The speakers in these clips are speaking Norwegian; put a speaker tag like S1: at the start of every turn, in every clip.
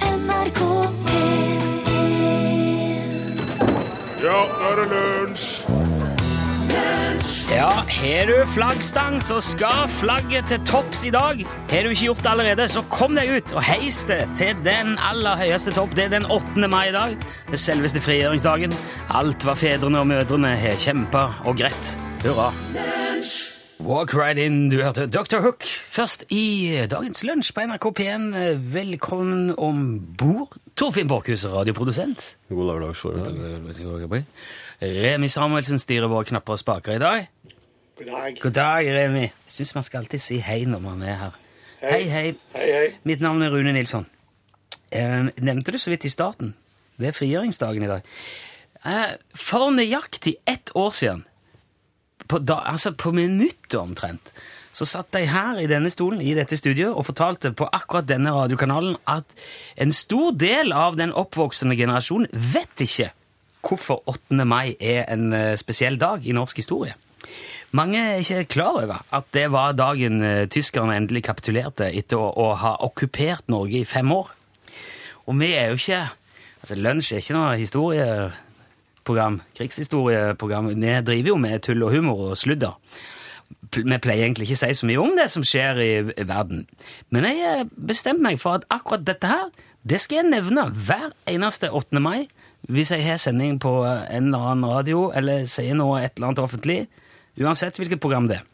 S1: NRK P1
S2: Ja, nå er det lunsj!
S3: Ja, Har du flaggstang, så skal flagget til topps i dag. Har du ikke gjort det allerede, så kom deg ut og heis det til den aller høyeste topp. Det er den 8. mai i dag, den selveste frigjøringsdagen. Alt hva fedrene og mødrene har kjempa og grett. Hurra. Walk right in, du hørte Dr. Hook først i dagens lunsj på NRK P1. Velkommen om bord, Torfinn Borchhus, radioprodusent.
S4: God lørdag, Sjåre.
S3: Remi Samuelsen styrer våre knapper og spaker i dag. God dag. God dag, Remi. Jeg syns man skal alltid si hei når man er her. Hei, hei.
S2: Hei, hei.
S3: Mitt navn er Rune Nilsson. Eh, nevnte du så vidt i starten. Det er frigjøringsdagen i dag. Eh, for nøyaktig ett år siden, på, da, altså på minuttet omtrent, så satt de her i denne stolen i dette studioet og fortalte på akkurat denne radiokanalen at en stor del av den oppvoksende generasjonen vet ikke hvorfor 8. mai er en eh, spesiell dag i norsk historie. Mange er ikke klar over at det var dagen eh, tyskerne endelig kapitulerte etter å, å ha okkupert Norge i fem år. Og vi er jo ikke Altså, Lunsj er ikke noe historieprogram, krigshistorieprogram. Vi driver jo med tull og humor og sludder. Pl- Vi pleier egentlig ikke å si så mye om det som skjer i v- verden. Men jeg eh, bestemmer meg for at akkurat dette her, det skal jeg nevne hver eneste 8. mai. Hvis jeg har sending på eh, en eller annen radio, eller sier noe et eller annet offentlig. Uansett hvilket program det er.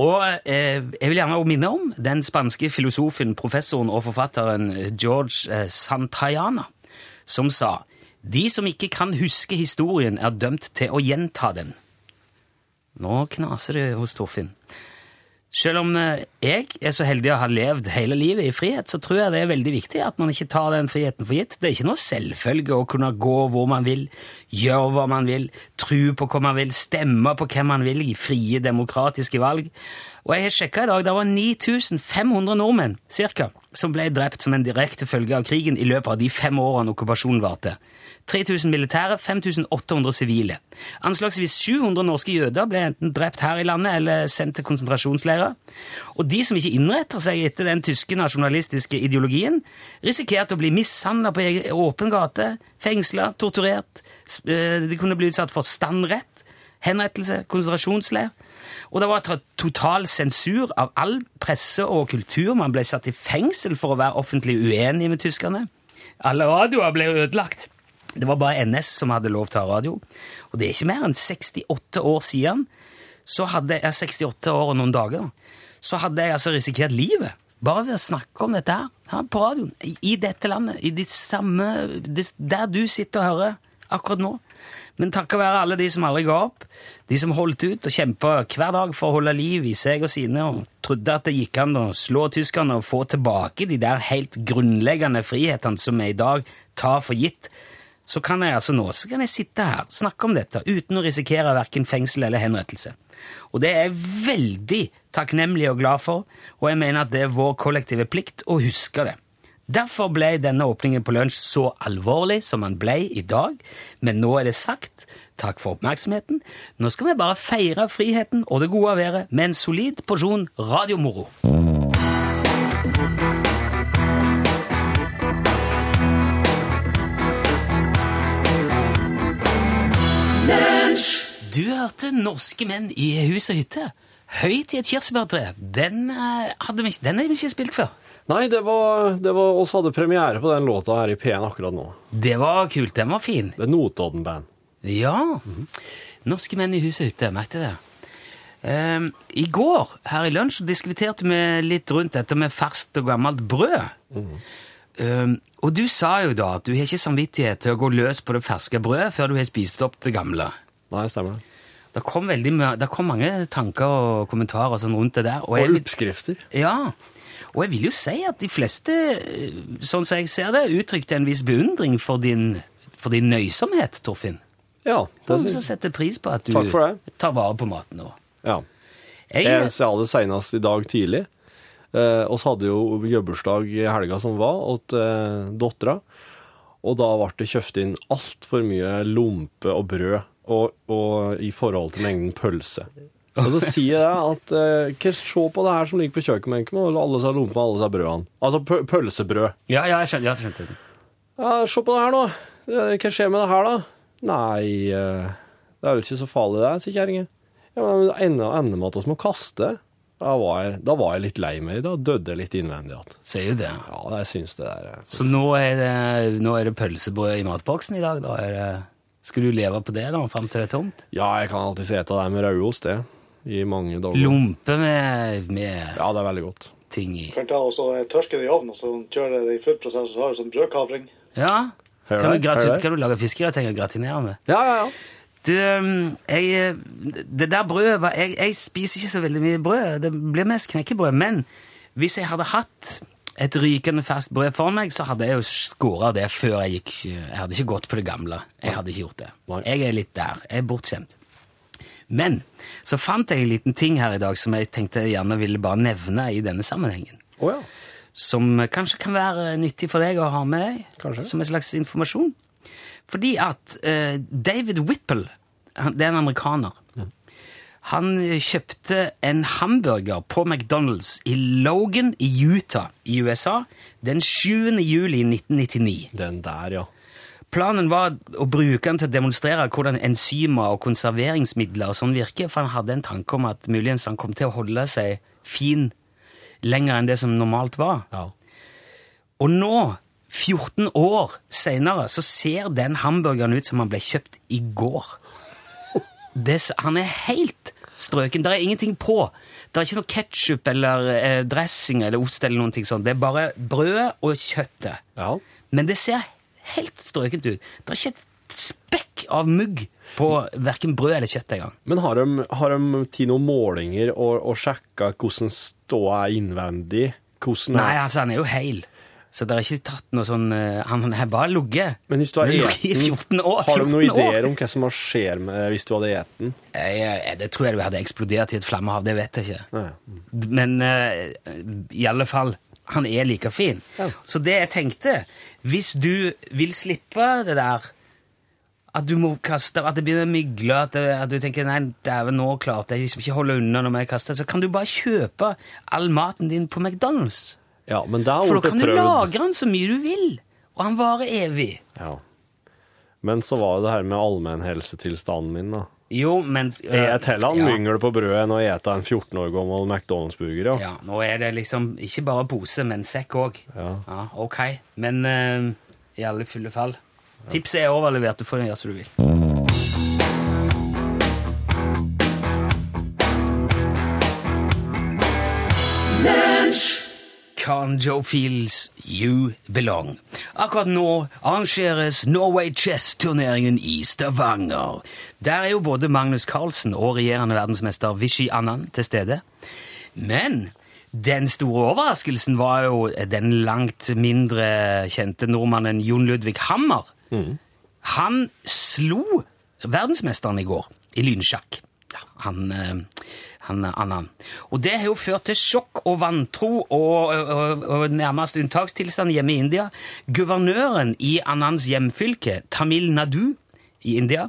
S3: Og eh, jeg vil gjerne også minne om den spanske filosofen, professoren og forfatteren George eh, Santayana, som sa de som ikke kan huske historien, er dømt til å gjenta den. Nå knaser det hos Torfinn. Selv om eh, jeg er så heldig å ha levd hele livet i frihet, så tror jeg det er veldig viktig at man ikke tar den friheten for gitt. Det er ikke noe selvfølge å kunne gå hvor man vil, gjøre hva man vil, tro på hva man vil, stemme på hvem man vil i frie, demokratiske valg. Og jeg har sjekka i dag, det var 9500 nordmenn cirka, som ble drept som en direkte følge av krigen i løpet av de fem årene okkupasjonen varte. 3000 militære, 5800 sivile. Anslagsvis 700 norske jøder ble enten drept her i landet eller sendt til konsentrasjonsleirer. Og de som ikke innretter seg etter den tyske nasjonalistiske ideologien, risikerte å bli mishandla på egen- åpen gate, fengsla, torturert. s- eh, De kunne bli utsatt for standrett, henrettelse, konsentrasjonsleir. Og det var tra- total sensur av all presse og kultur. Man ble satt i fengsel for å være offentlig uenig med tyskerne. Alle radioer ble ødelagt. Det var bare NS som hadde lov til å ha radio. Og det er ikke mer enn 68 år siden, så hadde jeg 68 år og noen dager, så hadde jeg altså risikert livet. Bare ved å snakke om dette her, her på radioen, i, i dette landet, i de samme, dis- der du sitter og hører akkurat nå. Men takket være alle de som aldri ga opp, de som holdt ut og kjempet hver dag for å holde liv i seg og sine, og trodde at det gikk an å slå tyskerne og få tilbake de der helt grunnleggende frihetene som vi i dag tar for gitt, så kan jeg altså nå så kan jeg sitte her snakke om dette uten å risikere verken fengsel eller henrettelse. Og det er jeg veldig takknemlig og glad for, og jeg mener at det er vår kollektive plikt å huske det. Derfor ble denne åpningen på lunsj så alvorlig som den ble i dag, men nå er det sagt. Takk for oppmerksomheten. Nå skal vi bare feire friheten og det gode været med en solid porsjon radiomoro. Du hørte norske menn i hus og hytte. Høyt i et kirsebærtre. Den, eh, hadde vi ikke, den hadde vi ikke spilt før.
S4: Nei, det var, det var oss hadde premiere på den låta her i P1 akkurat nå.
S3: Det var kult. Den var fin.
S4: Det er Notodden-band.
S3: Ja. Norske menn i hus og hytte. Merket jeg det. Ehm, I går her i lunsj diskuterte vi litt rundt dette med ferskt og gammelt brød. Ehm, og du sa jo da at du har ikke samvittighet til å gå løs på det ferske brødet før du har spist opp det gamle.
S4: Nei, stemmer det.
S3: Det kom, veldig, ma- det kom mange tanker og kommentarer sånn rundt det der. Og jeg
S4: Og
S3: vil-
S4: oppskrifter.
S3: Ja, og jeg vil jo si at de fleste, eh, sånn som jeg ser det, uttrykte en viss beundring for din, for din nøysomhet, Torfinn.
S4: Ja, det
S3: Noen som
S4: synes jeg.
S3: setter pris på at du
S4: Takk for det.
S3: tar vare på maten nå.
S4: Ja. Jeg
S3: Jeg,
S4: sa det senest i dag tidlig. Eh, oss hadde jo jobbursdag i helga som var, åt eh, dottera. Og da ble det kjøpt inn altfor mye lompe og brød og, og i forhold til mengden pølse. Og så sier jeg at eh, Hva se på det her som ligger på kjøkkenbenken, og alle seg lompene, alle seg brødene. Altså pø pølsebrød.
S3: Ja, ja, jeg skjønte, ja, jeg skjønte det.
S4: Ja, se på det her nå. Eh, Hva skjer med det her, da? Nei, eh, det er vel ikke så farlig det, sier kjerringa. Ja, men det ender, ender med at vi må kaste. Da var, jeg, da var jeg litt lei meg. Da døde jeg litt innvendig igjen.
S3: Sier du det?
S4: Ja, jeg syns det der eh,
S3: Så nå er det, nå er det pølsebåt i matboksen i dag. Da er det, skulle du leve på det da, fram til det er tomt?
S4: Ja, jeg kan alltid ete det med rødost, det. I mange dager.
S3: Lompe med, med
S4: Ja, det er veldig godt.
S3: ting i.
S1: Kan ta og så tørke det i ovnen, og så kjøre det i full prosess, og så har du sånn brødkavring.
S3: Ja.
S4: Hører
S3: Kan du,
S4: deg, hører
S3: gratin,
S4: deg.
S3: kan du lage fiskegratenger og gratinere med?
S4: Ja, ja, ja.
S3: Du, øhm, jeg, øh, det der brødet var- jeg, jeg spiser ikke så veldig mye brød. Det blir mest knekkebrød. Men hvis jeg hadde hatt et rykende ferskt brød for meg, så hadde jeg jo skåra det før jeg gikk Jeg hadde ikke gått på det gamle. Jeg hadde ikke gjort det.
S4: Nei.
S3: Jeg er litt der. Jeg er bortskjemt. Men så fant jeg en liten ting her i dag som jeg tenkte jeg gjerne ville bare nevne i denne sammenhengen.
S4: Å ja.
S3: Som kanskje kan være nyttig for deg å ha med deg.
S4: Kanskje.
S3: Som en slags informasjon. Fordi at eh, David Whipple, han, det er en amerikaner, han kjøpte en hamburger på McDonald's i Logan i Utah i USA den 7. juli 1999.
S4: Den der, ja.
S3: Planen var å bruke den til å demonstrere hvordan enzymer og konserveringsmidler og sånn virker, for han hadde en tanke om at muligens han kom til å holde seg fin lenger enn det som normalt var.
S4: ja.
S3: Og nå, 14 år senere, så ser den hamburgeren ut som han ble kjøpt i går. Det, s- han er helt strøken. Det er ingenting på. Det er ikke noe ketsjup eller eh, dressing eller ost eller noen ting sånt. Det er bare brødet og kjøttet.
S4: Ja.
S3: Men det ser helt strøkent ut. Det er ikke et spekk av mugg på verken brød eller kjøtt engang.
S4: Men har de, har de tatt noen målinger og, og sjekka hvordan ståa er innvendig? Hvordan
S3: Nei, altså, han er jo heil. Så det er ikke tatt noe sånn eh, Han har bare ligget.
S4: Men hvis du har
S3: Han har
S4: eten-
S3: ligget i 14 år.
S4: Har de
S3: 14
S4: noen
S3: år.
S4: ideer om hva som skjer med, hvis du hadde spist den?
S3: Jeg, jeg, det tror jeg du hadde eksplodert i et flammehav, det vet jeg ikke. Men eh, i alle fall, han er like fin. Så det jeg tenkte, hvis du vil slippe det der, at du må kaste, at det begynner å mygle, at, det, at du tenker, nei, dæven, nå klarte jeg liksom ikke holde unna når jeg kaster, så kan du bare kjøpe all maten din på McDonalds.
S4: Ja, men det har
S3: For da
S4: blitt
S3: kan du
S4: prøvd.
S3: lagre den så mye du vil, og han varer evig.
S4: Ja. Men så var jo det her med allmennhelsetilstanden min, da.
S3: Jo, men...
S4: eh, Jeg et heller en
S3: Eh, Ja.
S4: myngel på brødet enn å ete en 14 år gammel McDonald's-burger, ja.
S3: Ja, nå er det liksom ikke bare pose, men sekk òg.
S4: Ja.
S3: ok. Men eh, i alle fulle fall. Tipset er overlevert. Du får gjøre som du vil. Can Joe Fields You Belong. Akkurat nå arrangeres Norway Chess-turneringen i Stavanger. Der er jo både Magnus Carlsen og regjerende verdensmester Vishy Anand til stede. Men den store overraskelsen var jo den langt mindre kjente nordmannen Jon Ludvig Hammer. Han slo verdensmesteren i går i lynsjakk. Han, eh, han Annan. Og det har jo ført til sjokk og vantro og, og, og nærmest unntakstilstand hjemme i India. Guvernøren i Annans hjemfylke, Tamil Nadu i India,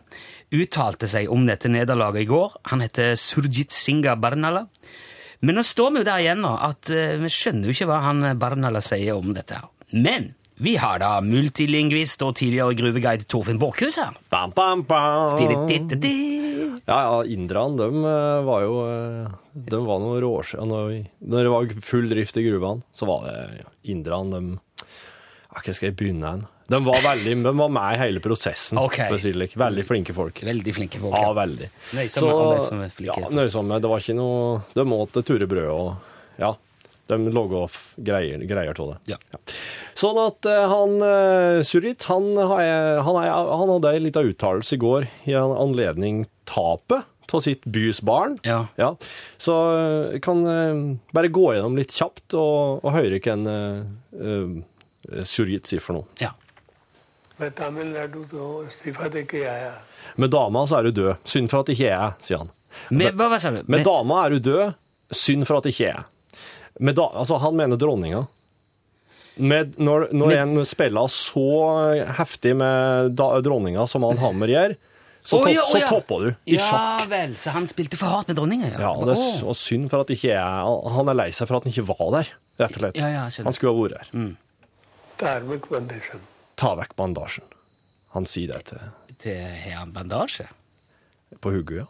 S3: uttalte seg om dette nederlaget i går. Han heter Surjit Singha Barnala. Men nå står vi jo der igjen nå, at eh, vi skjønner jo ikke hva han eh, Barnala sier om dette her. Men vi har da multilingvist og tidligere gruveguide Torfinn Borkhus her.
S4: Bam, bam, bam.
S3: Di-di-di-di-di.
S4: Ja, ja, inderne, de eh, var jo eh, De var noen råsj... ja, Når når det var full drift i gruvene, så var det ja, inderne, de ja, Hvor skal jeg begynne hen? De var veldig De var med i hele prosessen.
S3: Ok.
S4: for å si det slik. Veldig flinke folk.
S3: Veldig flinke folk.
S4: Ja,
S3: ja.
S4: veldig.
S3: Nøysomme,
S4: Så-
S3: alle som er flinke.
S4: Ja, nøysomme. Det var ikke noe De åt det ture brød og Ja. De logga off greier, greier til det.
S3: Ja.
S4: Sånn at eh, han eh, Surit, han, har jeg- han, er- han hadde ei lita uttalelse i går i an- anledning tapet av sitt bys barn.
S3: Ja.
S4: Så eh, kan eh, bare gå gjennom litt kjapt og, og høre hva en eh, eh, Surit sier for noe.
S3: Ja.
S5: मैं तमिलनाडु तो इस्तीफा दे के आया
S4: Med dama så er du død. Synd for at ikke jeg er, sier han.
S3: Med, hva, hva sa du?
S4: Med dama er du død, synd for at ikke jeg. Med da, altså, han mener dronninga. Med, når når en spiller så heftig med da, dronninga som han Hammer gjør, Så,
S3: Å,
S4: topp-
S3: ja, å, ja.
S4: så toppa du i
S3: Ja
S4: sjakk.
S3: vel, så han spilte for hardt med dronninga, ja.
S4: Ja, og det er
S3: Å.
S4: s- og synd for at ikke jeg Han er lei seg for at han ikke var der, rett og slett.
S3: Ja, ja, jeg skjønner. Mm.
S4: han skulle ha vært her.
S5: धार्मिक बंदेशन
S4: Ta vekk bandasjen. Han sier det til,
S3: Til- Har han bandasje?
S4: på hodet, ja.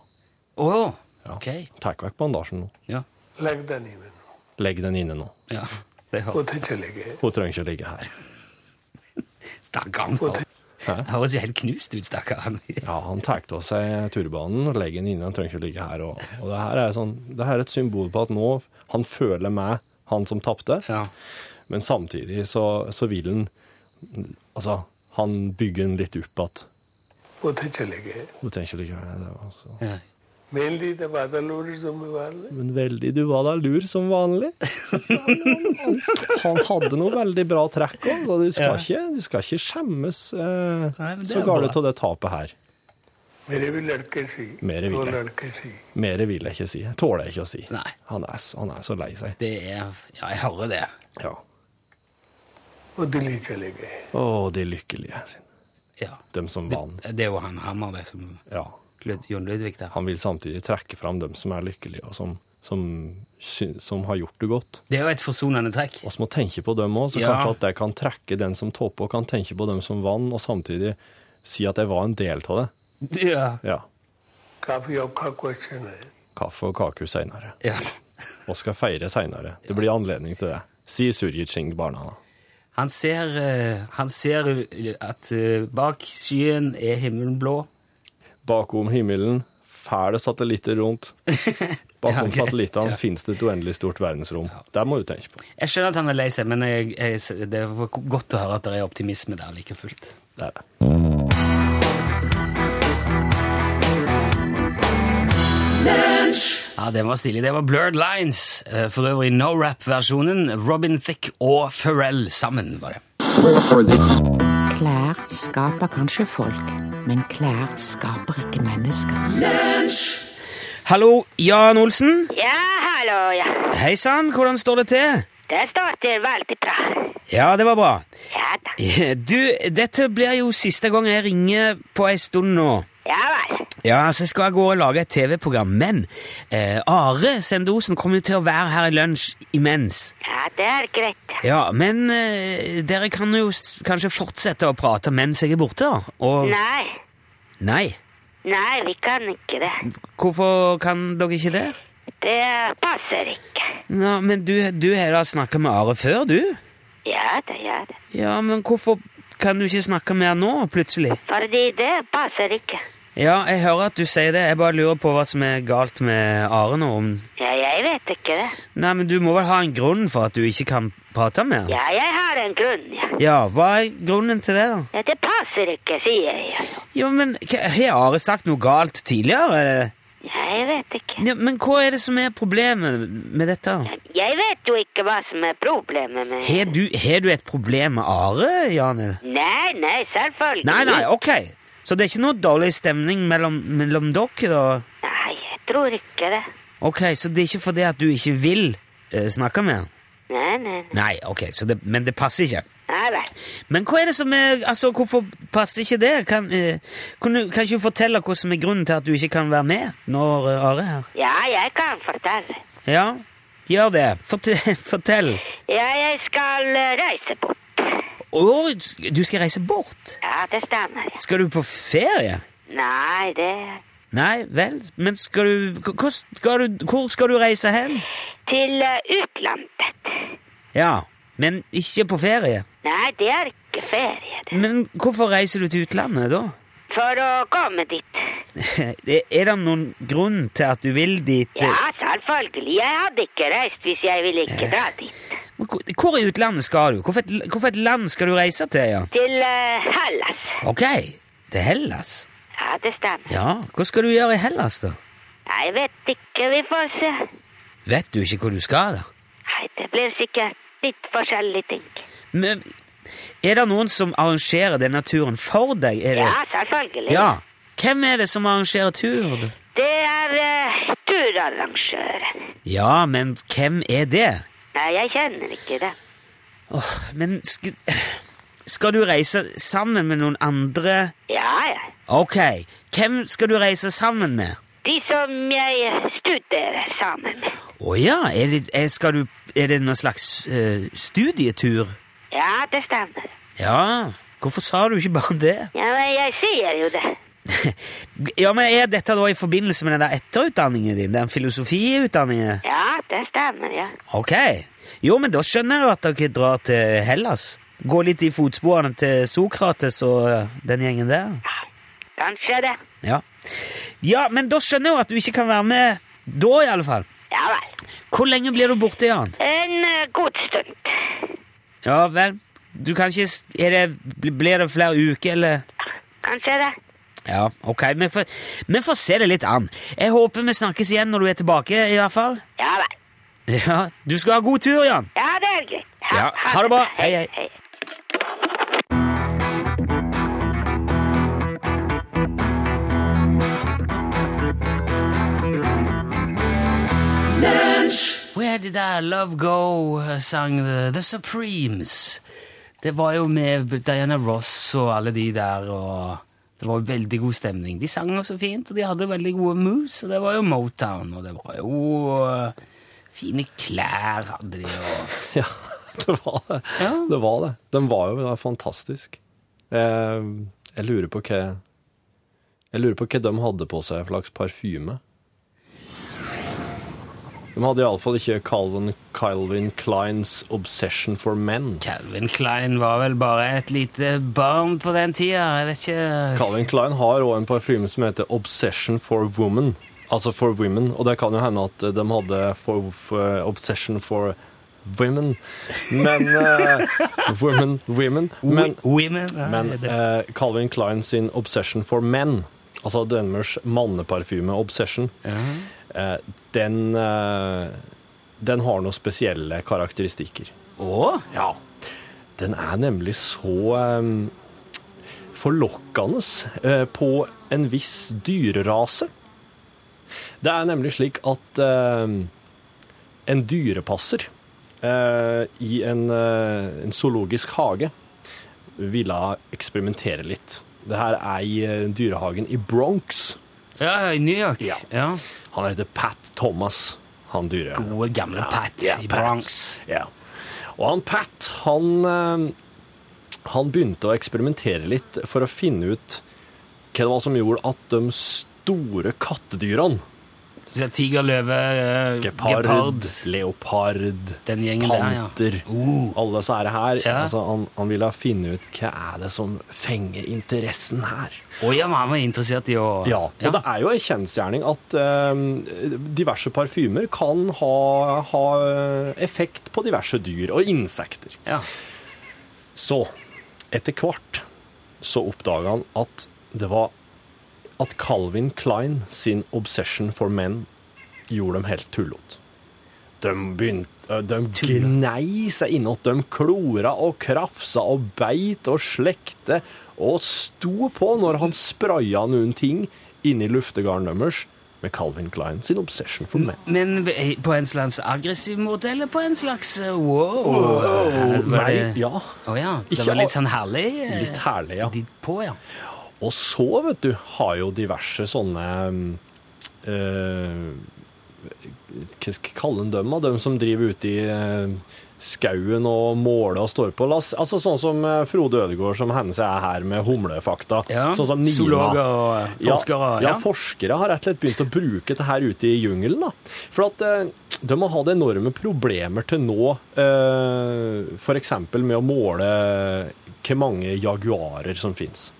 S3: Å,
S4: ja.
S3: ok.
S4: Ta vekk bandasjen nå.
S3: Ja.
S5: लगता नहीं मैंने
S4: Legg den inne nå.
S3: ja. Det hører
S5: उधर चले गए
S4: Hun trenger ikke å ligge her.
S3: Stakkar. han. Han høres jo helt knust ut, stakkar. han.
S4: Ja, han tar av seg turbanen og legger den inne. Han trenger ikke å ligge her. Og, og det, her er sånn, det her er et symbol på at nå han føler meg, han som tapte,
S3: Ja.
S4: men samtidig så, så vil han Altså, han bygger den litt opp at
S5: उधर चले गए
S4: Hun trenger ikke å ligge her. Det var så-
S3: Ja.
S5: Mainly तो बादल और जुम्मेवार ने
S4: Men veldig, du var da lur som vanlig. Han hadde noe veldig bra trekk òg, så du skal, ikke, du skal ikke skjemmes eh,
S3: Nei, men det
S4: så
S3: er
S4: galt
S3: bra.
S4: av det tapet her.
S5: मेरे भी लड़के सी
S4: मेरे भी
S5: दो
S4: लड़के।
S5: लड़के सी
S4: Mer vil jeg ikke si. Tåler jeg ikke å si.
S3: Nei.
S4: Han er, s- han er så lei seg.
S3: Det er Ja, jeg hører det.
S4: Ja.
S5: वो दिल्ली चले गए
S4: Å, de lykkelige. sin.
S3: Ja.
S4: Dem som vant.
S3: Det er jo han Hammer, det, som
S4: Ja.
S3: Lud- Jon Ludvig der.
S4: Han vil samtidig trekke fram dem som er lykkelige, og som, som, syn- som har gjort det godt.
S3: Det er jo et forsonende trekk.
S4: Vi må tenke på dem òg, så
S3: Ja.
S4: kanskje at jeg kan trekke den som topper, og kan tenke på dem som vant, og samtidig si at jeg var en del av det.
S3: Ja.
S4: Ja.
S5: काफी औखा क्वेश्चन है
S4: Kaffe og kaker seinere.
S3: ja.
S4: Og skal feire seinere. Det blir anledning til det. Si Surjit Singh barna.
S3: Han ser, eh, han ser eh, at eh, bak skyen er himmelen blå.
S4: Bakom himmelen, fæle satellitter rundt.
S3: Ja,
S4: Bakom
S3: ok.
S4: satellittene fins det et uendelig stort verdensrom. Det må du tenke på.
S3: Jeg skjønner at han er lei seg, men jeg, jeg, det var godt å høre at det er optimisme der like fullt.
S4: Det er det.
S3: Ja, det var stilig. Det var Blurred Lines. Eh, For øvrig no rap-versjonen. Robin Thicke og Pharrell sammen var det.
S6: Klær skaper kanskje folk, men klær skaper ikke mennesker.
S3: Hallo, Jan Olsen.
S7: Ja, hallo, ja.
S3: Hei sann, hvordan står det til?
S7: Det står til veldig bra.
S3: Ja, det var bra.
S7: Ja da.
S3: Du, dette blir jo siste gang jeg ringer på ei stund nå.
S7: Ja vel.
S3: Ja, så skal jeg gå og lage et TV-program, men eh, Are Sendosen kommer jo til å være her i lunsj imens.
S7: Ja, det er greit.
S3: Ja, men eh, dere kan jo s kanskje fortsette å prate mens jeg er borte, da? Og
S7: Nei.
S3: Nei.
S7: Nei, vi kan ikke det.
S3: Hvorfor kan dere ikke det?
S7: Det passer ikke.
S3: Nå, men du, du har da snakka med Are før, du?
S7: Ja da, ja da.
S3: Ja, men hvorfor kan du ikke snakke mer nå, plutselig?
S7: Fordi det passer ikke.
S3: Ja, jeg hører at du sier det, jeg bare lurer på hva som er galt med Are nå. Om...
S7: Ja, jeg vet ikke det.
S3: Nei, men du må vel ha en grunn for at du ikke kan prate mer?
S7: Ja, jeg har en grunn, ja.
S3: Ja, hva er grunnen til det, da?
S7: Ja, det passer ikke, sier jeg.
S3: Jo, men hva- har Are sagt noe galt tidligere? eller?
S7: Jeg vet ikke.
S3: Ja, men hva er det som er problemet med dette? da?
S7: Jeg vet jo ikke hva som er problemet med
S3: Har du, har du et problem med Are, Jan? eller?
S7: Nei, nei, selvfølgelig.
S3: Nei, nei, ok. Så det er ikke noe dårlig stemning mellom, mellom dere, da?
S7: Nei, jeg tror ikke det.
S3: Ok, så det er ikke fordi at du ikke vil eh, snakke med han?
S7: Nei, nei.
S3: Nei, ok, så det, men det passer ikke.
S7: Nei vel.
S3: Men hva er det som er Altså, hvorfor passer ikke det? Kan, eh, kan, du, kan ikke du fortelle hva som er grunnen til at du ikke kan være med når eh, Are er her?
S7: Ja, jeg kan fortelle.
S3: Ja, gjør det. Fortell. fortell.
S7: Ja, jeg skal eh, reise bort.
S3: Å, du skal reise bort?
S7: Ja, det stemmer. ja.
S3: Skal du på ferie?
S7: Nei, det
S3: Nei, vel, men skal du, hvor skal du Hvor skal du reise hen?
S7: Til eh, utlandet.
S3: Ja, men ikke på ferie.
S7: Nei, det er ikke ferie. det.
S3: Men hvorfor reiser du til utlandet, da?
S7: For å komme dit.
S3: Er er det noen grunn til at du vil dit?
S7: Ja, selvfølgelig. Jeg hadde ikke reist hvis jeg ville ikke dra
S3: Eh.
S7: dit.
S3: Men Hvor hvor i utlandet skal du? Hvorfor et, hvorfor et land skal du reise til? ja?
S7: Til eh, Hellas.
S3: Ok, til Hellas.
S7: Ja, det stemmer.
S3: Ja, Hva skal du gjøre i Hellas, da?
S7: Jeg vet ikke, vi får se.
S3: Vet du ikke hvor du skal, da?
S7: Nei, det blir sikkert litt forskjellige ting.
S3: Men er det noen som arrangerer denne turen for deg? Er det?
S7: Ja, selvfølgelig.
S3: ja. Hvem er det som arrangerer turen? da?
S7: Det er eh, turarrangøren.
S3: Ja, men hvem er det?
S7: Nei, jeg kjenner ikke det.
S3: Åh, men skal, skal du reise sammen med noen andre?
S7: Ja, ja.
S3: Ok, Hvem skal du reise sammen med?
S7: De som jeg studerer sammen med.
S3: Å ja, er det, er, skal du, er det noen slags eh, studietur?
S7: Ja, det stemmer.
S3: Ja, hvorfor sa du ikke bare det?
S7: Ja, men jeg sier jo det.
S3: Ja, men Er dette da i forbindelse med den der etterutdanningen din? Den filosofiutdanningen?
S7: Ja, det stemmer, ja.
S3: Ok. Jo, men da skjønner jeg jo at dere drar til Hellas. Gå litt i fotsporene til Sokrates og eh, den gjengen der.
S7: Kanskje det.
S3: Ja. ja, men da skjønner jeg jo at du ikke kan være med da, i alle fall.
S7: Ja vel.
S3: Hvor lenge blir du borte, Jan?
S7: En eh, god stund.
S3: Ja vel, du kan ikke s- er det, Blir det flere uker, eller?
S7: Kanskje det.
S3: Ja, ok, vi får, vi får se det litt an. Jeg håper vi snakkes igjen når du er tilbake, i hvert fall.
S7: Ja vel.
S3: Ja, Du skal ha god tur, Jan.
S7: Ja, det er greit.
S3: Ja, ha det bra. Hei, hei.
S7: hei.
S3: Where Did Our Love Go sang The, the Supremes. Det var jo med Diana Ross og alle de der, og det var jo veldig god stemning. De sang jo så fint, og de hadde veldig gode moves, og det var jo Motown, og det var jo eh, Fine klær hadde de, og
S4: Ja, det var det.
S3: Ja.
S4: Det var det. Den var jo da fantastisk. Eh, jeg lurer på hva Jeg lurer på hva de hadde på seg for slags parfyme. De hadde iallfall ikke Calvin, Calvin Kleins Obsession for Men.
S3: Calvin Klein var vel bare et lite barn på den tida, jeg vet ikke
S4: Calvin Klein har òg en parfyme som heter Obsession for Women. Altså for women, og det kan jo hende at de hadde for, for Obsession for Women. Men eh, Women, women. Men,
S3: Women ja,
S4: Men
S3: det-
S4: eh, Calvin Klein sin Obsession for Men, altså Dønmers manneparfyme Obsession, eh, den, eh, den har noen spesielle karakteristikker.
S3: Å?
S4: Ja. Den er nemlig så eh, forlokkende eh, på en viss dyrerase. Det er nemlig slik at eh, en dyrepasser eh, i en, eh, en zoologisk hage ville eksperimentere litt. Det her er i eh, dyrehagen i Bronx.
S3: Ja, i New York.
S4: Ja.
S3: Ja.
S4: Han heter Pat Thomas, han dyre...
S3: Gode, gamle Pat
S4: Ja,
S3: i
S4: Pat.
S3: Bronx.
S4: Ja. Og han Pat, han, eh, han begynte å eksperimentere litt for å finne ut hva det var som gjorde at de store kattedyrene,
S3: Så tiger, løve, eh,
S4: gepard,
S3: gepard
S4: leopard,
S3: Den gjengen der,
S4: panter,
S3: ja. Oh.
S4: alle disse her,
S3: Ja.
S4: altså, han, han ville finne ut hva er det som fenger interessen her.
S3: Å ja, men han var interessert i å
S4: Ja, og det er jo en kjensgjerning at eh, diverse parfymer kan ha, ha eh, effekt på diverse dyr og insekter.
S3: Ja.
S4: Så, etter hvert, så oppdaga han at det var at Calvin Klein sin obsession for menn gjorde dem helt tullete. De begynte eh, De gnei seg innåt. De klora og krafsa og beit og slekte og sto på når han spraya noen ting inni luftegarden deres med Calvin Klein sin obsession for menn.
S3: Men eh, på en slags aggressiv måte, eller på en slags eh, wow?
S4: Wow,
S3: Var
S4: nei,
S3: det-
S4: ja.
S3: Å ja. Det
S4: Ikke
S3: var litt
S4: a-
S3: sånn herlig? eh,
S4: Litt herlig, ja.
S3: litt på, ja.
S4: Og så, vet du, har jo diverse sånne eh, Hva skal jeg kalle dem, dem? De som driver ute i eh, skauen og måler og står på. La oss- Altså sånn som eh, Frode Ødegaard, som hender seg er her med humlefakta.
S3: ja.
S4: Sånn som Nina.
S3: Zoologer og eh, forskere.
S4: Ja, ja, forskere har rett og slett begynt å bruke det her ute i jungelen. Da. For at eh, de har hatt enorme problemer til nå, eh, f.eks. med å måle hvor mange jaguarer som fins.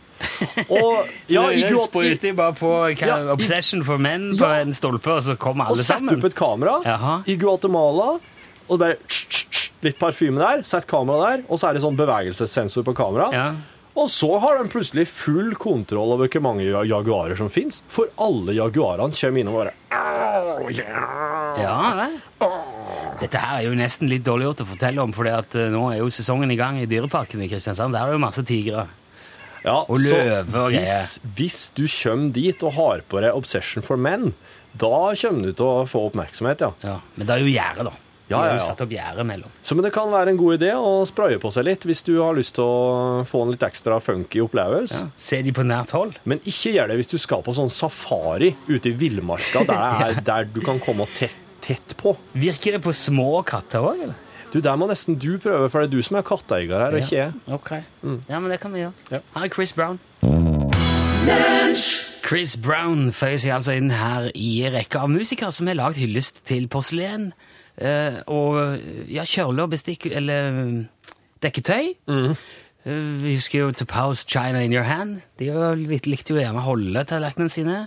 S4: Og ja, i
S3: Hun
S4: grått, i,
S3: sprøyter bare på hva,
S4: Ja, i-
S3: Obsession for menn på
S4: Ja.
S3: en stolpe, og så kommer
S4: og
S3: alle
S4: sette
S3: sammen.
S4: opp et kamera
S3: Jaha.
S4: i Guatemala, og bare tss, tss, tss, litt parfyme der, sett kamera der, og så er det sånn bevegelsessensor på kameraet.
S3: Ja.
S4: Og så har de plutselig full kontroll over hvor mange ja- jaguarer som fins, for alle jaguarene kommer innom og bare
S3: Ja, vel. Dette her er jo nesten litt dårlig gjort å fortelle om, for nå er jo sesongen i gang i Dyreparken i Kristiansand. Der er det jo masse tigre.
S4: Ja,
S3: Og
S4: så
S3: løve og
S4: hvis, hvis du kommer dit og har på deg Obsession for Men, da kommer du til å få oppmerksomhet, ja.
S3: Ja, men det er jo gjerde, da. De
S4: Ja,
S3: har jo
S4: ja, ja.
S3: satt opp gjerde mellom.
S4: Så men det kan være en god idé å spraye på seg litt hvis du har lyst til å få en litt ekstra funky opplevelse.
S3: Ser de på nært hold?
S4: Men ikke gjør det hvis du skal på sånn safari ute i villmarka, der, det er- der du kan komme tett, tett på.
S3: Virker det på små katter òg, eller?
S4: Du, Der må nesten du prøve, for det er du som er katteeier her, og ikke jeg.
S3: Ok. Ja, men det kan vi gjøre.
S4: Ja.
S3: Her er Chris Brown. Chris Brown føyer seg altså inn her i rekka av musikere som har lagd hyllest til porselen eh, og ja, kjøle og bestikk eller mm, dekketøy.
S4: Mm.
S3: Eh, vi husker jo To Pouse China In Your Hand. De var litt, likte jo gjerne å holde tallerkenene sine.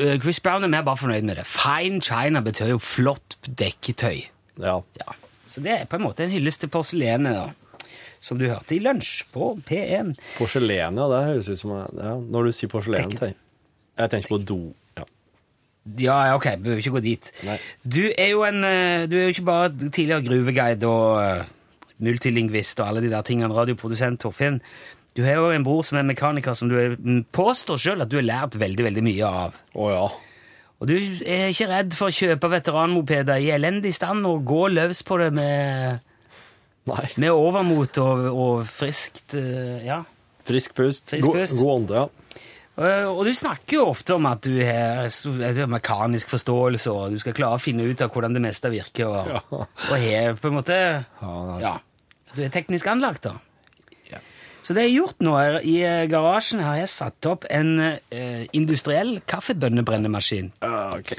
S3: Eh, Chris Brown er mer bare fornøyd med det. Fine China betyr jo flott dekketøy.
S4: Ja.
S3: Ja, så det er på en måte en hyllest til porselenet, da. Som du hørte i lunsj på P1.
S4: Porselen, ja. Det høres ut som ja, Når du sier porselen
S3: Dekket.
S4: tenk- Jeg tenkte på do. Ja.
S3: Ja, ja, ok, vi behøver ikke gå dit. Du er jo en, eh, du er jo ikke bare tidligere gruveguide og eh, multilingvist og alle de der tingene, radioprodusent Torfinn. Du har jo en bror som er mekaniker som du er- mm, påstår selv at du har lært veldig, veldig mye av.
S4: Å ja.
S3: Og du er ikke redd for å kjøpe veteranmopeder i elendig stand og gå løs på det med,
S4: Nei.
S3: med overmot og, og friskt, eh, ja.
S4: Frisk pust.
S3: Frisk
S4: God-
S3: pust.
S4: God ånde, ja.
S3: Eh, Og du snakker jo ofte om at du har s- at du har mekanisk forståelse, og du skal klare å finne ut av hvordan det meste virker, og, og har på en måte
S4: Ja,
S3: Ja. Du er teknisk anlagt, da. Så det jeg har gjort nå, er, i eh, garasjen har jeg satt opp en eh, industriell kaffebønnebrennemaskin.
S4: Ah, ok.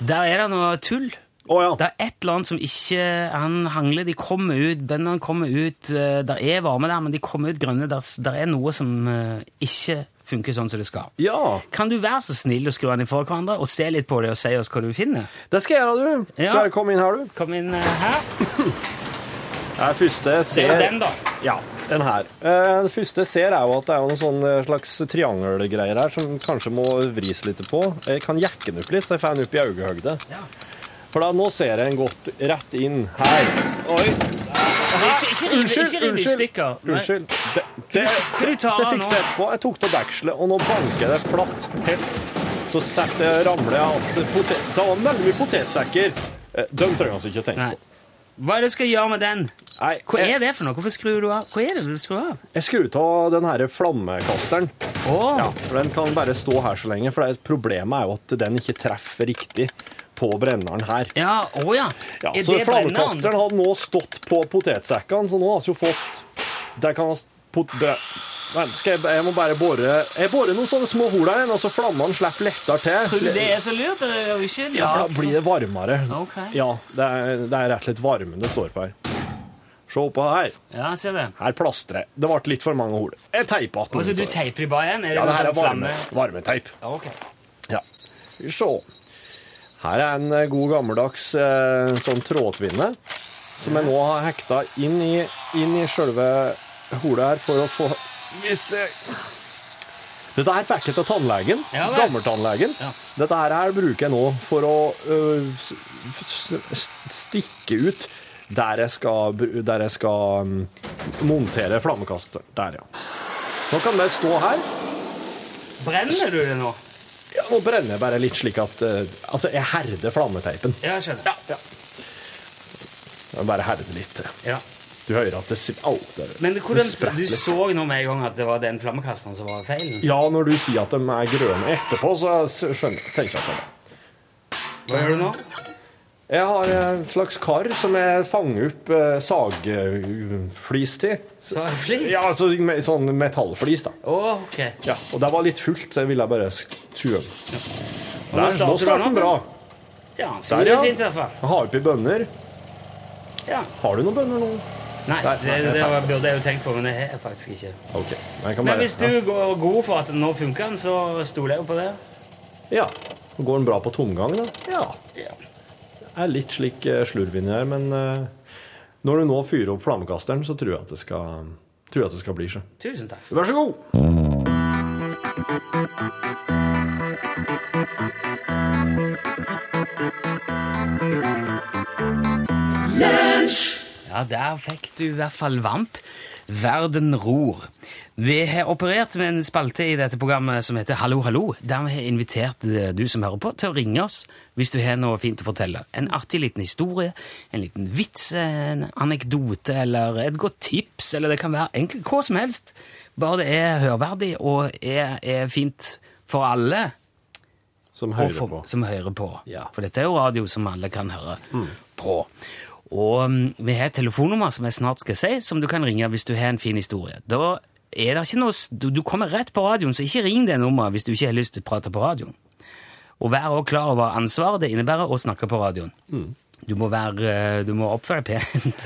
S3: Der er det noe tull.
S4: Å ja.
S3: Det er et eller annet som ikke han hangler. De kommer ut, bøndene kommer ut. eh, Der er varme der, men de kommer ut grønne. Der, s- der er noe som eh, ikke funker sånn som det skal.
S4: Ja,
S3: Kan du være så snill å skru den ifra hverandre og se litt på det og si oss hva du finner?
S4: det skal jeg gjøre, du.
S3: Ja.
S4: Bare kom inn her, du.
S3: Kom inn eh, her.
S4: Det er første jeg
S3: Det
S4: ser
S3: er jo den, da.
S4: Ja, den her. Eh, Det første jeg ser, er jo at det er jo noen sånn eh, slags triangelgreier her som kanskje må vris litt på. Jeg kan jekke den opp litt, så jeg får den opp i øyehøyde.
S3: Ja.
S4: For da, nå ser jeg den godt rett inn her. Oi,
S3: Ikke, ikke, riv- ikke riv i stykker. Nei.
S4: Unnskyld. Det, det,
S3: Kan du ta
S4: det
S3: den
S4: fikser jeg etterpå. Jeg tok av dekselet, og nå banker jeg det flatt. Helt. Så setter jeg ramler jeg alt potet... Det var veldig mye potetsekker. Eh, Dem trenger jeg altså ikke å tenke
S3: Nei.
S4: på.
S3: Hva er det du skal gjøre med den?
S4: Nei,
S3: Hva
S4: jeg-
S3: er det for noe? Hvorfor skrur du av? Hva er det du skrur av?
S4: Jeg skrur av den her flammekasteren.
S3: Åh.
S4: Ja, for Den kan bare stå her så lenge, for det er- problemet er jo at den ikke treffer riktig på brenneren her.
S3: Ja, å ja.
S4: Ja,
S3: Er
S4: så
S3: det brenneren?
S4: flammekasteren hadde nå stått på potetsekkene, så nå har vi jo fått Der kan vi pot... bre- Nei, skal jeg, jeg må bare bore Jeg borer noen sånne små hull her, igjen, og så flammene slipper lettere
S3: Tror du
S4: til.
S3: det er så lurt? Det er jo ikke lurt.
S4: Ja, da blir det varmere.
S3: Ok.
S4: Ja, det er, det er rett og slett varmen det står på her. Se på her.
S3: Ja, ser det.
S4: Her plastrer jeg. Det ble litt for mange hull. Jeg teipa
S3: Og så
S4: igjen.
S3: Altså, du teiper de bare igjen? Er det
S4: Ja, det
S3: noe
S4: her
S3: sånn
S4: er varme,
S3: flamme?
S4: varmeteip.
S3: Ja, ok.
S4: Ja. Skal vi se. Her er en eh, god gammeldags eh, sånn trådtvinne, som jeg nå har hekta inn i, inn i sjølve holet her for å få Hvis jeg Dette her fikk jeg av tannlegen.
S3: Ja vel.
S4: Gammeltannlegen.
S3: Ja.
S4: Dette her, her bruker jeg nå for å øh, s- s- stikke ut der jeg skal, bru- der jeg skal mm, montere flammekaster. Der, ja. Nå kan det stå her.
S3: Brenner du det nå?
S4: Ja, nå brenner jeg bare litt slik at eh, Altså, jeg herder flammeteipen.
S3: Ja, jeg skjønner.
S4: Ja. Jeg bare herder litt.
S3: Ja.
S4: Du hører at det sitter Au! det-
S3: Men hvordan,
S4: det spretter
S3: du
S4: litt.
S3: så nå med en gang at det var den flammekasteren som var feilen?
S4: Ja, når du sier at de er grønne etterpå, så s- skjønner jeg tenker jeg på det.
S3: Hva gjør du nå?
S4: Jeg har en slags kar som jeg fanger opp eh, sagflis til.
S3: Så er det flis?
S4: Ja, altså me- sånn metallflis, da.
S3: Å, ok.
S4: Ja, og det var litt fullt, så jeg ville bare sk- tue den. Der,
S3: starter den
S4: nå starter
S3: opp,
S4: den bra.
S3: Ja, så
S4: Der,
S3: det
S4: ja.
S3: er fint i hvert fall.
S4: Jeg har oppi bønner.
S3: Ja.
S4: Har du noen bønner nå?
S3: Nei,
S4: Nei,
S3: det,
S4: nei,
S3: det var,
S4: nei.
S3: burde jeg jo tenkt på, men det har jeg faktisk ikke.
S4: Ok, jeg
S3: Men
S4: kan bare...
S3: hvis du går god for at den nå funker, den, så stoler jeg jo på det.
S4: Ja. Går den bra på tomgang, da? Ja.
S3: Ja.
S4: Det er litt slik eh, slurv inni her, men eh, når du nå fyrer opp flammekasteren, så tror jeg at det skal, tror jeg at det skal bli seg.
S3: Tusen takk.
S4: Vær så god!
S3: Ja, Ja, der fikk du i hvert fall vamp. Verden ror. Vi har operert med en spalte i dette programmet som heter Hallo, hallo, der vi har invitert eh, du som hører på, til å ringe oss hvis du har noe fint å fortelle. En artig liten historie, en liten vits, en anekdote eller et godt tips, eller det kan være egentlig hva som helst. Bare det er hørverdig og er, er fint for alle
S4: Som
S3: og
S4: hører
S3: for,
S4: på.
S3: Som hører på.
S4: Ja. Mm.
S3: For dette er jo radio som alle kan høre på. Og mm, vi har et telefonnummer som jeg snart skal si, som du kan ringe hvis du har en fin historie. Da er det ikke noe, s- du, du kommer rett på radioen, så ikke ring det nummeret hvis du ikke har lyst til å prate på radioen. Og vær også klar over ansvaret det innebærer å snakke på radioen.
S4: Mm.
S3: Du må, være, eh, du må oppføre deg pent.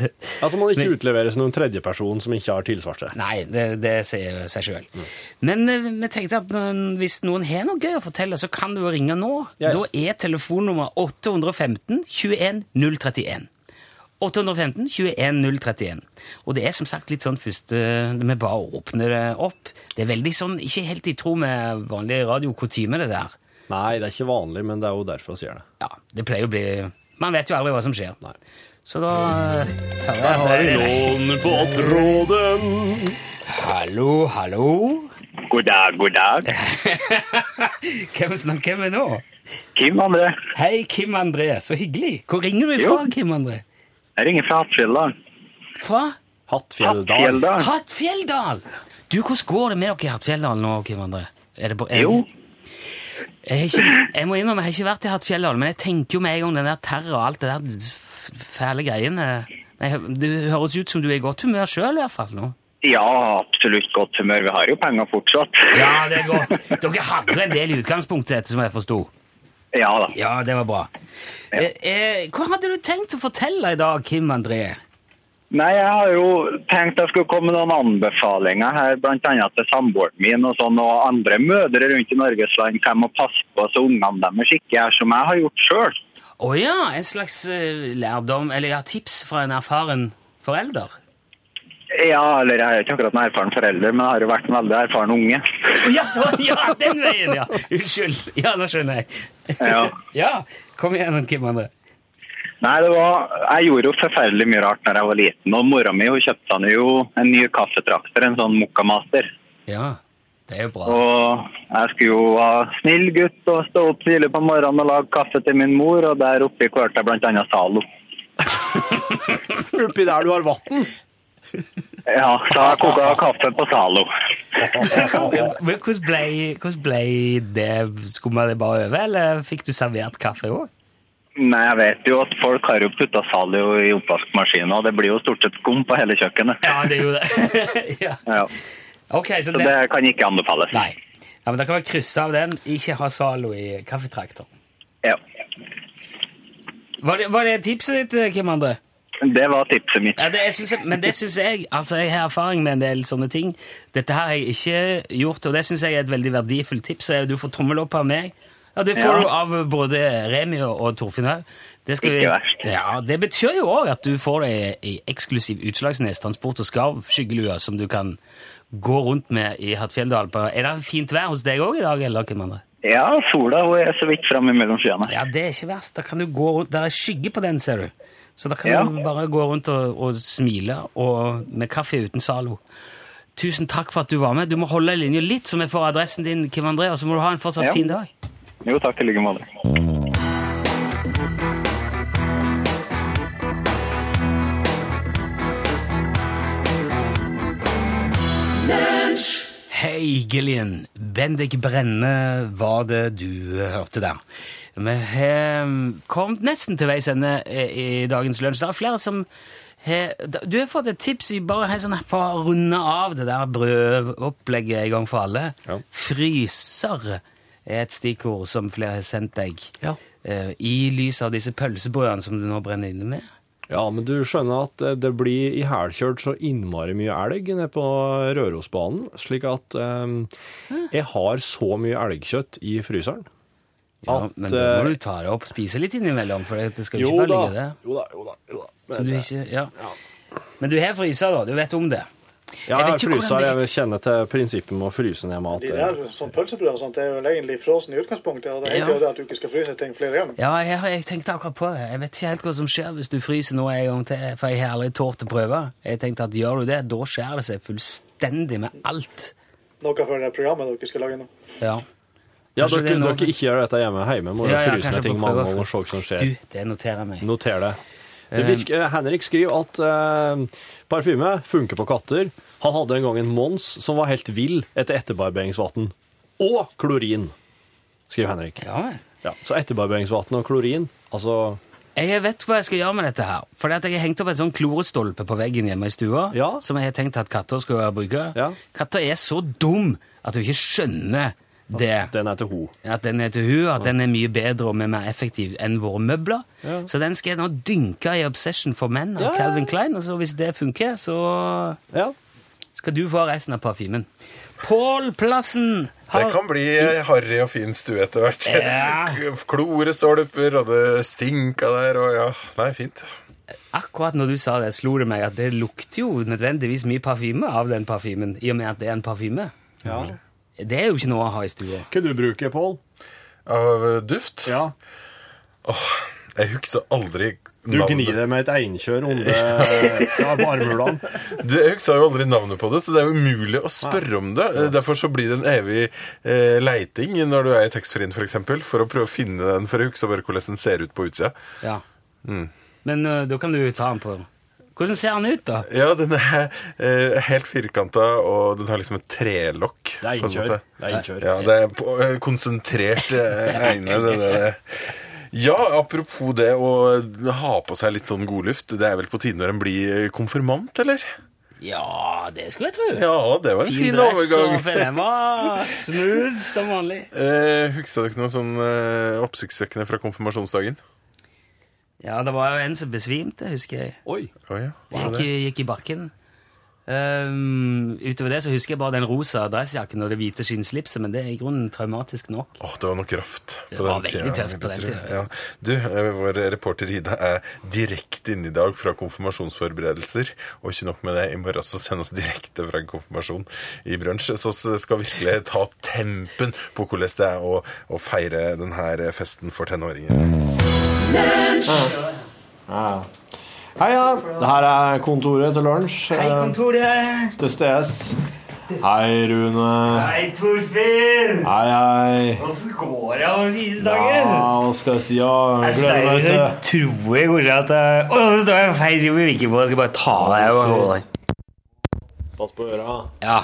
S4: Altså må det ikke
S3: Men-
S4: utleveres noen tredjeperson som ikke har tilsvarte.
S3: Nei, det, det sier jo seg sjøl. Men eh, vi tenkte at eh, hvis noen har noe gøy å fortelle, så kan du jo ringe nå.
S4: Ja, ja.
S3: Da er telefonnummer 815 21 031. 815 21 031. Og det er som sagt litt sånn først eh, Vi bare åpner det opp. Det er veldig sånn ikke helt i tro med vanlig radiokutyme, det der.
S4: Nei, det er ikke vanlig, men det er jo derfor vi sier det.
S3: Ja, Det pleier å bli Man vet jo aldri hva som skjer.
S4: Nei.
S3: Så da
S4: Jeg
S3: hører
S4: har
S3: jeg
S4: noen på tråden.
S3: Hallo, hallo.
S8: God dag, god dag.
S3: Hvem snakker vi nå?
S8: Kim André.
S3: Hei, Kim André. Så hyggelig. Hvor ringer du fra,
S8: Jo.
S3: Kim André?
S8: Jeg ringer fra Hattfjelldal.
S3: Fra
S4: Hattfjelldal.
S8: Hattfjelldal.
S3: Hattfjelldal! Du, hvordan går det med dere i Hattfjelldal nå, Kim André? Er det på, er,
S8: Jo,
S3: Jeg, har ikke, jeg må innrømme, jeg har ikke vært i Hattfjelldal, men jeg tenker jo med en gang den der terror og alt det der f- fæle greiene. Men jeg- Det høres ut som du er i godt humør sjøl, i hvert fall nå.
S8: ja, absolutt godt humør. Vi har jo penger fortsatt.
S3: Ja, det er godt. Dere hadde jo en del i utgangspunktet, etter som jeg forsto.
S8: Ja da.
S3: Ja, det var bra. Eh, eh, hva hadde du tenkt å fortelle i dag, Kim André?
S8: Nei, jeg har jo tenkt jeg skulle komme med noen anbefalinger her, blant annet til samboeren min og sånn, og andre mødre rundt i Norges land hva jeg må passe på så ungene deres ikke gjør som jeg har gjort sjøl.
S3: Å ja, en slags eh, lærdom, eller ja, tips fra en erfaren forelder.
S8: Ja, eller jeg er jo ikke akkurat en erfaren forelder, men jeg har jo vært en veldig erfaren unge.
S3: Å, Ja, så, ja, den veien, ja! Unnskyld. Ja, nå skjønner jeg.
S8: Ja.
S3: Ja, kom igjen, Kim André.
S8: Nei, det var, jeg gjorde jo forferdelig mye rart når jeg var liten, og mora mi hun kjøpte han jo en ny kaffetrakter, en sånn Mokkamaster.
S3: Ja, det er jo bra.
S8: Og jeg skulle jo være snill gutt og stå opp tidlig på morgenen og lage kaffe til min mor, og der oppe kjørte jeg blant annet Zalo.
S4: Oppi der du har vann.
S8: Ja, så jeg koka kaffe på Zalo.
S3: Men hvordan ble, hvordan ble det Skumma det bare over, eller fikk du servert kaffe òg?
S8: Nei, jeg vet jo at folk har jo putta Zalo i oppvaskmaskinen, og det blir jo stort sett skum på hele kjøkkenet.
S3: Ja, det gjorde det. ja.
S8: Ja,
S3: Ok, så
S8: så
S3: det
S8: det kan ikke anbefales.
S3: Nei. Ja, men Da kan vi krysse av den. Ikke ha Zalo i kaffetrakteren.
S8: Ja.
S3: Var det, var det tipset ditt, Kim André?
S8: Det var tipset mitt.
S3: Ja, det, jeg synes, men det syns jeg Altså, jeg har erfaring med en del sånne ting. Dette her har jeg ikke gjort, og det syns jeg er et veldig verdifullt tips. Eh, Du får tommel opp av meg. Ja, Det får
S8: Ja.
S3: du av både Remi og og Torfinn òg. Det, skal
S8: Ikke verst.
S3: ja, det betyr jo òg at du får deg ei eksklusiv Utslagsnes transport og skarv skyggelue som du kan gå rundt med i Hattfjelldal. på- Er det fint vær hos deg òg i dag, eller hvem andre?
S8: Ja, sola hun er så vidt framme mellom skyene.
S3: Ja, det er ikke verst. Da kan du gå rundt. Der er skygge på den, ser du. Så da kan
S8: Ja.
S3: du bare gå rundt og, og smile og, med kaffe uten Zalo. Tusen takk for at du var med. Du må holde linja litt, så vi får adressen din, Kim André, og så må du ha en fortsatt
S8: Ja.
S3: fin dag.
S8: Jo, takk i like måte.
S3: Hei, Gillian. Bendik Brenne var det du eh, hørte der. Vi har mm, kommet nesten til veis ende eh, i dagens lunsj. Det er flere som har Du har fått et tips i bare helt sånn for å runde av det der brødopplegget en gang for alle.
S4: Ja.
S3: Fryser er et stikkord som flere har sendt deg.
S4: Ja.
S3: eh, I lys av disse pølsebrødene som du nå brenner inne med.
S4: Ja, men du skjønner at eh, det blir ihælkjørt så innmari mye elg nede på Rørosbanen, slik at eh, jeg har så mye elgkjøtt i fryseren.
S3: Ja,
S4: At,
S3: men da
S4: eh,
S3: må du ta det opp og spise litt innimellom, for det skal jo
S4: Jo
S3: ikke bare
S4: da,
S3: ligge der.
S4: jo da, jo da. Jo da.
S3: Så
S4: Men,
S3: du
S4: eh,
S3: ikke, ja. Men du har fryser, da. Du vet om det.
S4: Ja,
S3: jeg
S4: jeg,
S3: vet ikke
S4: fryser,
S3: hvordan det
S4: jeg kjenner til prinsippet med å fryse ned mat.
S1: De der sånn pølsebrød og sånt er vel egentlig frosen i utgangspunktet. og Det heter
S3: Ja.
S1: jo det at du ikke skal fryse ting flere ganger.
S3: Ja, jeg, har- jeg tenkte akkurat på det. Jeg vet ikke helt hva som skjer hvis du fryser noe en gang til, for jeg har aldri tort å prøve. Jeg tenkte at gjør du det, da skjærer det seg fullstendig med alt.
S1: Noe for det programmet dere skal lage nå.
S3: Ja.
S4: Ja,
S3: Kanskje det
S4: dere,
S3: er
S4: dere
S3: noe-
S4: ikke gjør dette hjemme. Hjemme må du
S3: Ja, ja,
S4: fryse
S3: kanskje
S4: ned ting
S3: må prøve.
S4: mange ganger og se hva som skjer.
S3: Du, det noterer jeg meg.
S4: Noter det. det virker, eh, Henrik skriver at eh, parfyme funker på katter. Han hadde en gang en Mons som var helt vill etter etterbarberingsvann. Og klorin, skriver Henrik.
S3: Ja, men.
S4: Ja, så etterbarberingsvann og klorin, altså
S3: Jeg vet hva jeg skal gjøre med dette her. Fordi at jeg har hengt opp en sånn klorestolpe på veggen hjemme i stua,
S4: Ja.
S3: som jeg har tenkt at katter skal bruke.
S4: Ja.
S3: Katter er så dum at du ikke skjønner det.
S4: Den er til ho.
S3: At den er til hun, at den er mye bedre og mer- mer effektiv enn våre møbler. Så den skal jeg nå dynke i Obsession for menn av
S4: Ja, ja, ja.
S3: Calvin Klein, og så hvis det funker, så
S4: Ja.
S3: skal du få resten av parfymen. Pål Plassen!
S9: Det
S3: har-
S9: kan bli
S4: हाँ।
S9: harry og fin stue etter hvert.
S3: Ja.
S9: Klorestolper, og det stinka der, og ja. Nei, fint.
S3: Akkurat når du sa det, slo det meg at det lukter jo nødvendigvis mye parfyme av den parfymen, i og med at det er en parfyme. Det er jo ikke noe å ha i stua.
S4: Hva du bruker, Pål?
S9: Av eh, duft.
S4: Ja.
S9: Jeg husker aldri
S4: Du gnir deg med et einkjør under ja, varmhulene.
S9: Du, Jeg husker jo aldri navnet på det, så det er jo umulig å spørre om det. Eh, Derfor så blir det en evig eh, leiting når du er i taxfree-en, f.eks., for, for å prøve å finne den, for jeg husker bare hvordan den ser ut på utsida.
S3: Ja.
S9: Mm.
S3: Men ø, da kan du ta den på. Hvordan ser den ut, da?
S9: Ja, den er eh, helt firkanta, og den har liksom et trelokk.
S4: Det er
S9: på en
S4: innkjør.
S9: måte.
S4: Det er innkjør.
S9: Ja, det er på- eh, konsentrert eh, øyne. Det, der. Ja, apropos det å ha på seg litt sånn godluft. Det er vel på tide når en blir eh, konfirmant, eller?
S3: Ja, det skulle jeg tro.
S9: Ja, det var en fin, overgang.
S3: og den var smooth som vanlig.
S9: Eh, Husker dere noe sånn eh, oppsiktsvekkende fra konfirmasjonsdagen?
S3: Ja, det var jo en som besvimte, husker jeg.
S4: Oi.
S9: Å ja. hva var
S3: Gikk,
S9: det?
S3: i- gikk i bakken. Ehm, utover det så husker jeg bare den rosa dressjakken og det hvite skinnslipset, men det er i grunnen traumatisk nok.
S9: Åh, det var nok raft. på
S3: Det var
S9: den
S3: veldig tøft på den
S9: tror jeg.
S3: tiden.
S9: Ja. Du, eh, vår reporter Ida er direkte inne i dag fra konfirmasjonsforberedelser. Og ikke nok med det, i morgen så sendes direkte fra en konfirmasjon i brunsj. Så s- skal virkelig ta tempen på hvordan det er å, å feire denne festen for tenåringer.
S4: Hei, ja. Det her er kontoret til lunsj. Eh,
S3: Hei, kontoret!
S4: Til stedes. Hei, Rune.
S3: Hei, Torfinn!
S4: Hei, hei.
S3: Åssen går det over visdagen?
S4: Ja, hva skal jeg si? Ja, jeg gleder meg
S3: tror
S4: til
S3: jeg kanskje at jeg- Å, nå står jeg feil side på vinkelbordet. Jeg skal bare ta deg over hodet.
S4: Pass på øra.
S3: Ja.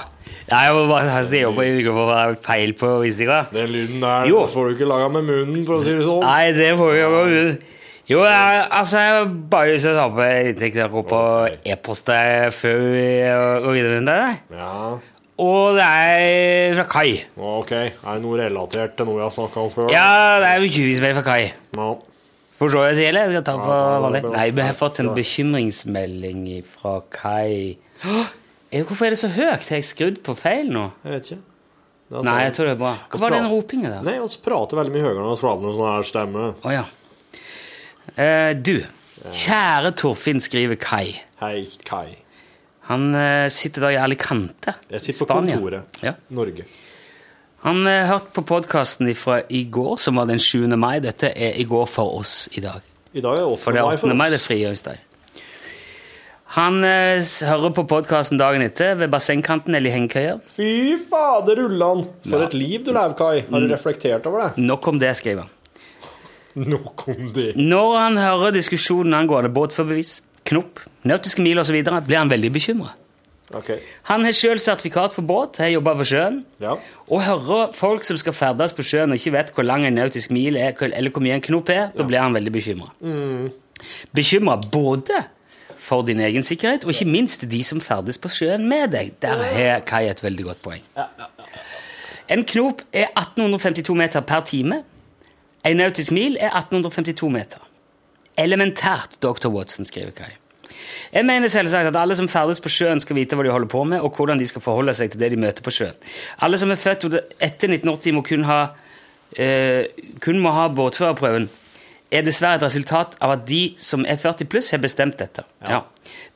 S3: Nei, jeg må bare altså, ha sted på vinkelbordet, for det er feil på visninga.
S4: Den lyden der
S3: Jo.
S4: får du ikke laga med munnen, for å si det sånn.
S3: Nei, det får vi jo gå ut. Jo, jeg, altså, jeg bare lyst til å ta på en liten knakk på e-post der før vi eh, går videre med det.
S4: Ja,
S3: Og det er fra Kai.
S4: ok. Er det noe relatert til noe jeg har snakka om før?
S3: Ja, det er bekymringsmelding fra Kai.
S4: No.
S3: Forstår jeg sier, eller? Jeg skal ta på
S4: ta det
S3: vanlig.
S4: med-
S3: Nei, vi har fått en bekymringsmelding fra Kai. Åh, er- Hvorfor er det så høyt? Har jeg skrudd på feil nå?
S4: Jeg vet ikke. Det
S3: Nei,
S4: er sånn-
S3: jeg tror det er bra. Hva var den ropingen der?
S4: Nei, vi prater veldig mye høyere når vi prater med sånn her stemme.
S3: Å ja. Eh, du, kjære Torfinn, skriver Kai.
S4: Hei, Kai.
S3: Han eh, sitter da i Alicante,
S4: Jeg sitter på
S3: Spania.
S4: kontoret.
S3: Ja.
S4: Norge.
S3: Han eh, hørte på podkasten fra i går, som var den 7. mai. Dette er i går for oss i dag.
S4: I dag er det 8.
S3: For det er 8. mai, det er
S4: oss.
S3: frigjøringsdag. Han eh, s- hører på podkasten dagen etter ved bassengkanten eller i hengekøya.
S4: Fy fader, rullan! For et liv du lever, Kai. Har du reflektert over det?
S3: Nok om det, skriver han.
S4: Nok om det.
S3: Når han hører diskusjonen angående båtførerbevis, knopp, nautiske mil osv., blir han veldig bekymra.
S4: Ok.
S3: Han har sjøl sertifikat for båt, har jobba på sjøen.
S4: Ja.
S3: Og hører folk som skal ferdes på sjøen og ikke vet hvor lang en nautisk mil er, hvor- eller hvor mye en knop er, da blir han veldig bekymra. Bekymra både for din egen sikkerhet, og ikke minst de som ferdes på sjøen med deg. Der har Kai et veldig godt poeng. En knop er 1852 meter per time. En nautisk mil er 1852 meter. Elementært, dr. Watson, skriver Kai. Jeg mener selvsagt at alle som ferdes på sjøen skal vite hva de holder på med, og hvordan de skal forholde seg til det de møter på sjøen. Alle som er født etter 1980 må kun ha, eh, kun må ha båtførerprøven. er dessverre et resultat av at de som er 40 pluss, har bestemt dette. Ja.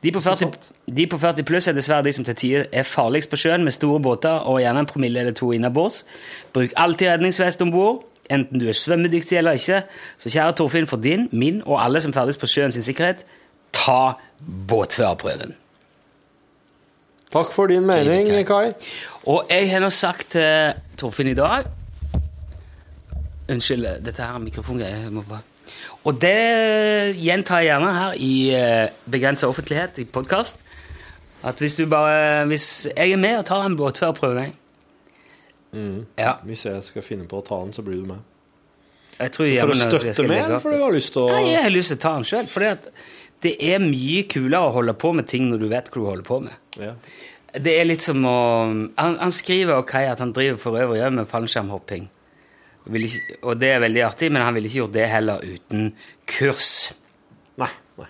S3: De, på 40, de på 40 pluss er dessverre de som til tider er farligst på sjøen med store båter og gjerne en promille eller to innabords. Bruk alltid redningsvest om bord, enten du er svømmedyktig eller ikke. Så kjære Torfinn, for din, min og alle som ferdes på sjøen sin sikkerhet, ta båtførerprøven.
S4: Takk for din mening,
S3: Trivelig,
S4: Kai.
S3: Og jeg har nå sagt til Torfinn i dag Unnskyld, dette her er mikrofongreier. jeg må bare- Og det gjentar jeg gjerne her i begrensa offentlighet i podkast. At hvis du bare Hvis jeg er med og tar en båtførerprøve, jeg.
S4: Mm.
S3: Ja,
S4: Hvis jeg skal finne på å ta den, så blir du med.
S3: jeg tror
S4: For
S3: hjemme nå
S4: å
S3: skal altså, jeg
S4: støtte
S3: skal
S4: med,
S3: legge
S4: eller
S3: opp.
S4: fordi du har lyst til å
S3: Nei, jeg har lyst til å ta den sjøl. For det er mye kulere å holde på med ting når du vet hva du holder på med.
S4: ja.
S3: Det er litt som å Han, han skriver og Kai at han driver for øvrig også med fallskjermhopping. Vil ikke- Og det er veldig artig, men han ville ikke gjort det heller uten kurs.
S4: Nei. nei.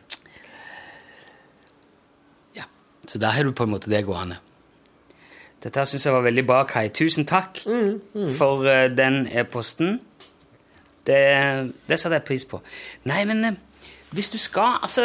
S3: Ja. Så der har du på en måte det gående. Dette her syns jeg var veldig bra, Kai. Tusen takk for eh, den e-posten. Det, det satte jeg pris på. Nei, men eh, hvis du skal Altså,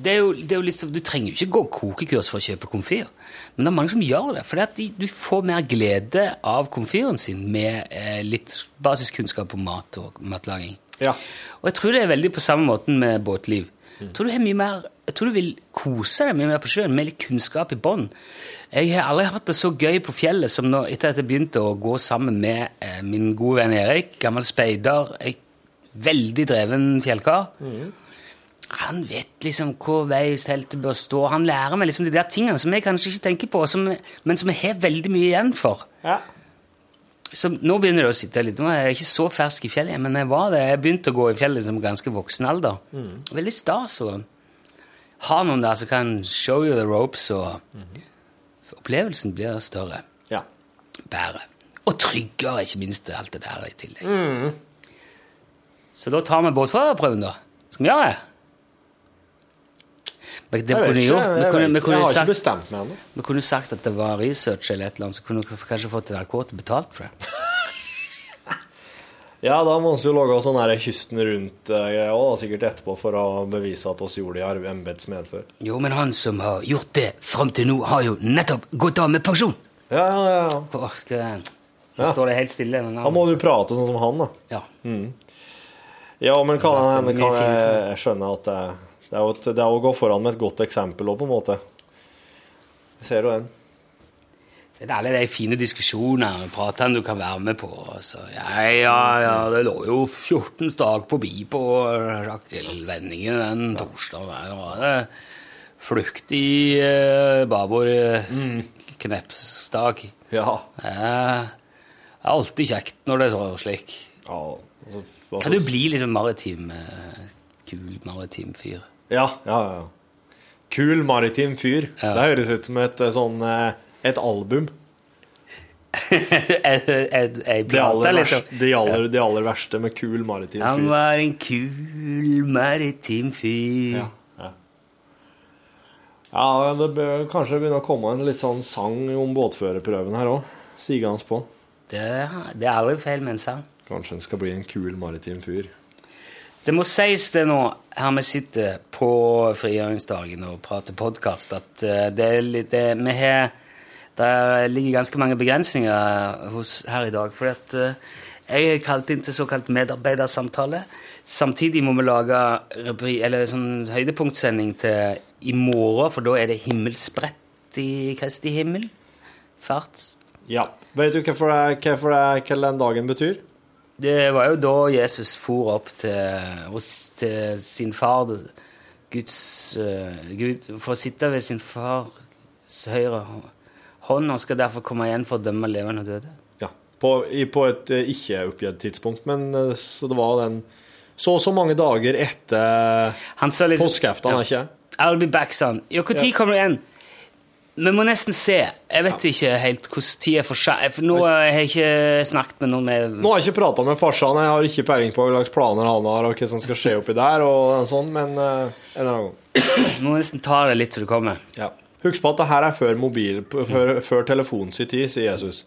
S3: det er jo, det er jo litt som Du trenger jo ikke gå kokekurs for å kjøpe komfyr. Men det er mange som gjør det. For de, du får mer glede av komfyren sin med eh, litt basiskunnskap om mat og matlaging.
S4: Ja.
S3: Og jeg tror det er veldig på samme måten med båtliv. Jeg tror du, har mye mer, jeg tror du vil kose deg mye mer på sjøen med litt kunnskap i bånn. Jeg har aldri hatt det så gøy på fjellet som nå, etter at jeg begynte å gå sammen med eh, min gode venn Erik, gammel speider, jeg, veldig dreven fjellkar. Han vet liksom hvor vei teltet bør stå. Han lærer meg liksom de der tingene som jeg kanskje ikke tenker på, som, men som jeg har veldig mye igjen for.
S4: Ja.
S3: Så nå begynner det å sitte litt. Nå er jeg ikke så fersk i fjellet, men jeg var det. Jeg begynte å gå i fjellet som ganske voksen alder.
S4: Mm.
S3: Veldig stas å ha noen der som kan show you the ropes, og
S4: Mm.
S3: opplevelsen blir større,
S4: ja.
S3: bedre. Og tryggere, ikke minst, alt det der i tillegg.
S4: Mm.
S3: Så da tar vi båtførerprøven, da. Skal vi gjøre det? Men det
S4: Jeg vet
S3: kunne
S4: ikke.
S3: gjort, vi
S4: Jeg,
S3: kunne,
S4: vet
S3: vi
S4: ikke.
S3: kunne
S4: jeg har
S3: sagt
S4: ikke bestemt meg ennå.
S3: vi kunne sagt at det var research eller et eller annet, så kunne dere kanskje fått NRK til betalt for det.
S4: Ja, da må vi jo lage sånn her kysten eh, rundt-greia sikkert etterpå, for å bevise at oss gjorde det i arv- embets medfør.
S3: Jo, men han som har gjort det fram til nå, har jo nettopp gått av med pensjon!
S4: Ja, ja, ja, ja.
S3: Åh, skal jeg... Nå
S4: Ja.
S3: står det helt stille. Men
S4: Da må du prate sånn som han, da.
S3: Ja.
S4: Ja, men kan,
S3: Ja,
S4: hende
S3: det er
S4: kan
S3: mye
S4: jeg,
S3: fint,
S4: jeg skjønne at det, det, er jo et, det er å gå foran med et godt eksempel òg, på en måte. Jeg ser jo den.
S3: Det er alle de fine diskusjonene og pratene du kan være med på. og Så, ja, ja, ja, det lå jo 14 stak på bi på Rakel Venningen den torsdagen. der, og det var Flukt i eh, babord eh,
S4: Mm.
S3: knepstak.
S4: Ja.
S3: Eh, Det er alltid kjekt når det er så slik.
S4: ja altså, hva
S3: Kan du
S4: slags-
S3: bli liksom maritim eh, Kul maritim fyr?
S4: Ja, ja, ja, ja. Kul maritim fyr.
S3: Ja.
S4: Det høres ut som et eh, sånn eh, et album.
S3: Ei
S4: De
S3: plate,
S4: aller,
S3: liksom.
S4: verste, de, aller, de aller verste med kul maritim
S3: Han
S4: fyr.
S3: var en kul maritim fyr.
S4: Ja, ja. ja, det bør kanskje begynne å komme en litt sånn sang om båtførerprøven her òg. Sigende på.
S3: Det, det er aldri feil med en sang.
S4: Kanskje en skal bli en kul maritim fyr.
S3: Det må sies det nå, her vi sitter på frigjøringsdagen og prater podkast, at eh, det er litt det, Vi har Det ligger ganske mange begrensninger hos, her i dag. For at eh, jeg er kalt inn til såkalt medarbeidersamtale. Samtidig må vi lage repri, eller sånn høydepunktsending til i morgen, for da er det himmelsbrett i Kristi himmel. Fart.
S4: Ja. Vet du hvorfor det, hvorfor det, hva den dagen betyr?
S3: Det var jo da Jesus for opp til, hos, til sin far, Guds eh, Gud, for å sitte ved sin fars høyre hå- hånd, og skal derfor komme igjen for å dømme levende og døde.
S4: Ja. På, i, på et eh, ikke oppgitt tidspunkt, men eh, så det var den Så og så mange dager etter
S3: Han sa liksom
S4: påskeaften, er ikke det?
S3: I'll be back, sa han. Ja, når kommer du igjen? Vi må nesten se. Jeg vet ikke helt hvordan tid er for seg. For nå har jeg ikke snakket med noen med
S4: Nå har jeg ikke prata med farsan, jeg har ikke peiling på hva slags planer han har, og hva som skal skje oppi der, og sånn, men eh, en eller annen gang.
S3: Vi må nesten ta det litt så det kommer.
S4: Ja. Husk på at det her er før, mobil, p- før, før telefonen sin tid, sier Jesus.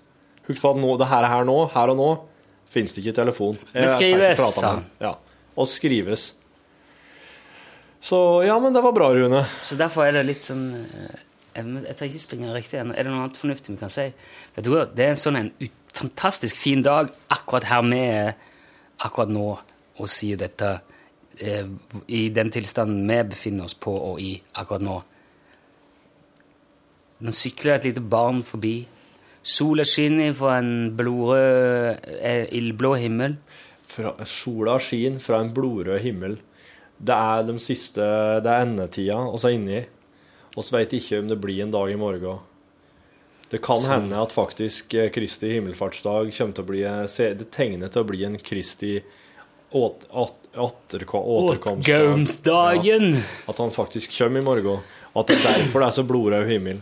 S4: Husk på at nå, det her er her nå, her og nå, fins det ikke telefon. Jeg
S3: Men
S4: har
S3: skrives,
S4: ikke pratet med
S3: sa
S4: han. Ja. og skrives. Så ja, men det var bra, Rune.
S3: Så derfor er det litt sånn eh, Jeg, må- jeg tar ikke springe riktig ennå. Er det noe annet fornuftig vi kan si? Vet du hva, Det er en sånn en ut, fantastisk fin dag akkurat her vi er akkurat nå, å si dette eh, i den tilstanden vi befinner oss på og i akkurat nå. Nå sykler et lite barn forbi. Sola skinner fra en blodrød, eh, ildblå himmel.
S4: Fra, sola skin fra en blodrød himmel. Det er de siste Det er endetida oss er inni. Oss veit ikke om det blir en dag i morgen. Det kan hende at faktisk eh, Kristi himmelfartsdag kommer til å bli eh, se- Det tegner til å bli en Kristi åt- at- atterko- återkomstdag.
S3: Åtgaumsdagen!
S4: Ja, at han faktisk kommer i morgen. Og at det er derfor det er så blodrød himmel.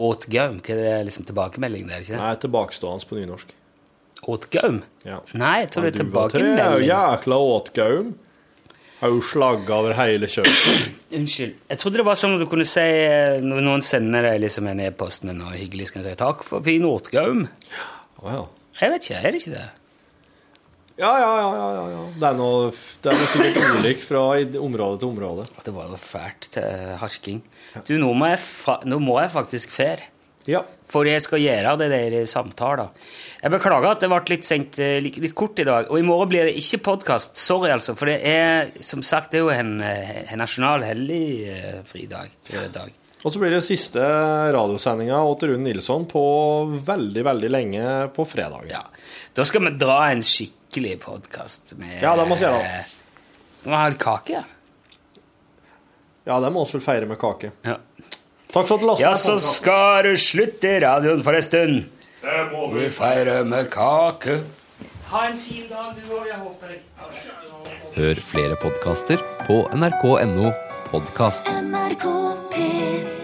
S3: Åtgaum, hva er det liksom tilbakemelding? Det er det ikke
S4: Det
S3: det?
S4: er tilbakestående på nynorsk.
S3: Åtgaum?
S4: Ja.
S3: Nei, jeg tror det er
S4: Du var tre,
S3: tilbakemelding.
S4: Jækla åtgaum. Har jo slagga over hele kjøkkenet.
S3: Unnskyld. Jeg trodde det var sånn at du kunne si eh, når noen sender deg liksom en e-post med noe hyggelig, skal du si 'takk for fin åtgaum'.
S4: Wow.
S3: Jeg vet ikke, er det ikke det?
S4: Ja, ja, ja, ja, ja, ja. Det er noe, det er noe sikkert ulikt fra i- område til område.
S3: Det var jo fælt til eh, harking. Du, nå må jeg, fa nå må jeg faktisk fer.
S4: Ja.
S3: For jeg skal gjøre det der i samtaler. Jeg beklager at det ble litt, sendt, eh, litt, litt kort i dag. Og i morgen blir det ikke podkast. Sorry, altså. For det er som sagt det er jo en, eh, en nasjonal hellig eh, fridag. rød dag.
S4: Og så blir det siste radiosendinga til Rune Nilsson på veldig, veldig lenge på fredag.
S3: Ja. Da skal vi dra en skikkelig podkast med eh,
S4: Ja, det må vi gjøre, da.
S3: Skal vi ha litt kake?
S4: Ja, det må vi vel feire med kake.
S3: Ja.
S4: Takk for at du lasta
S3: ja, så skal du slutte i radioen for en stund.
S2: Det må vi.
S3: Vi feirer med kake. Ha en fin dag, du òg. Jeg håper deg.
S10: Hør flere podkaster på nrk.no podkast.
S11: NRK P3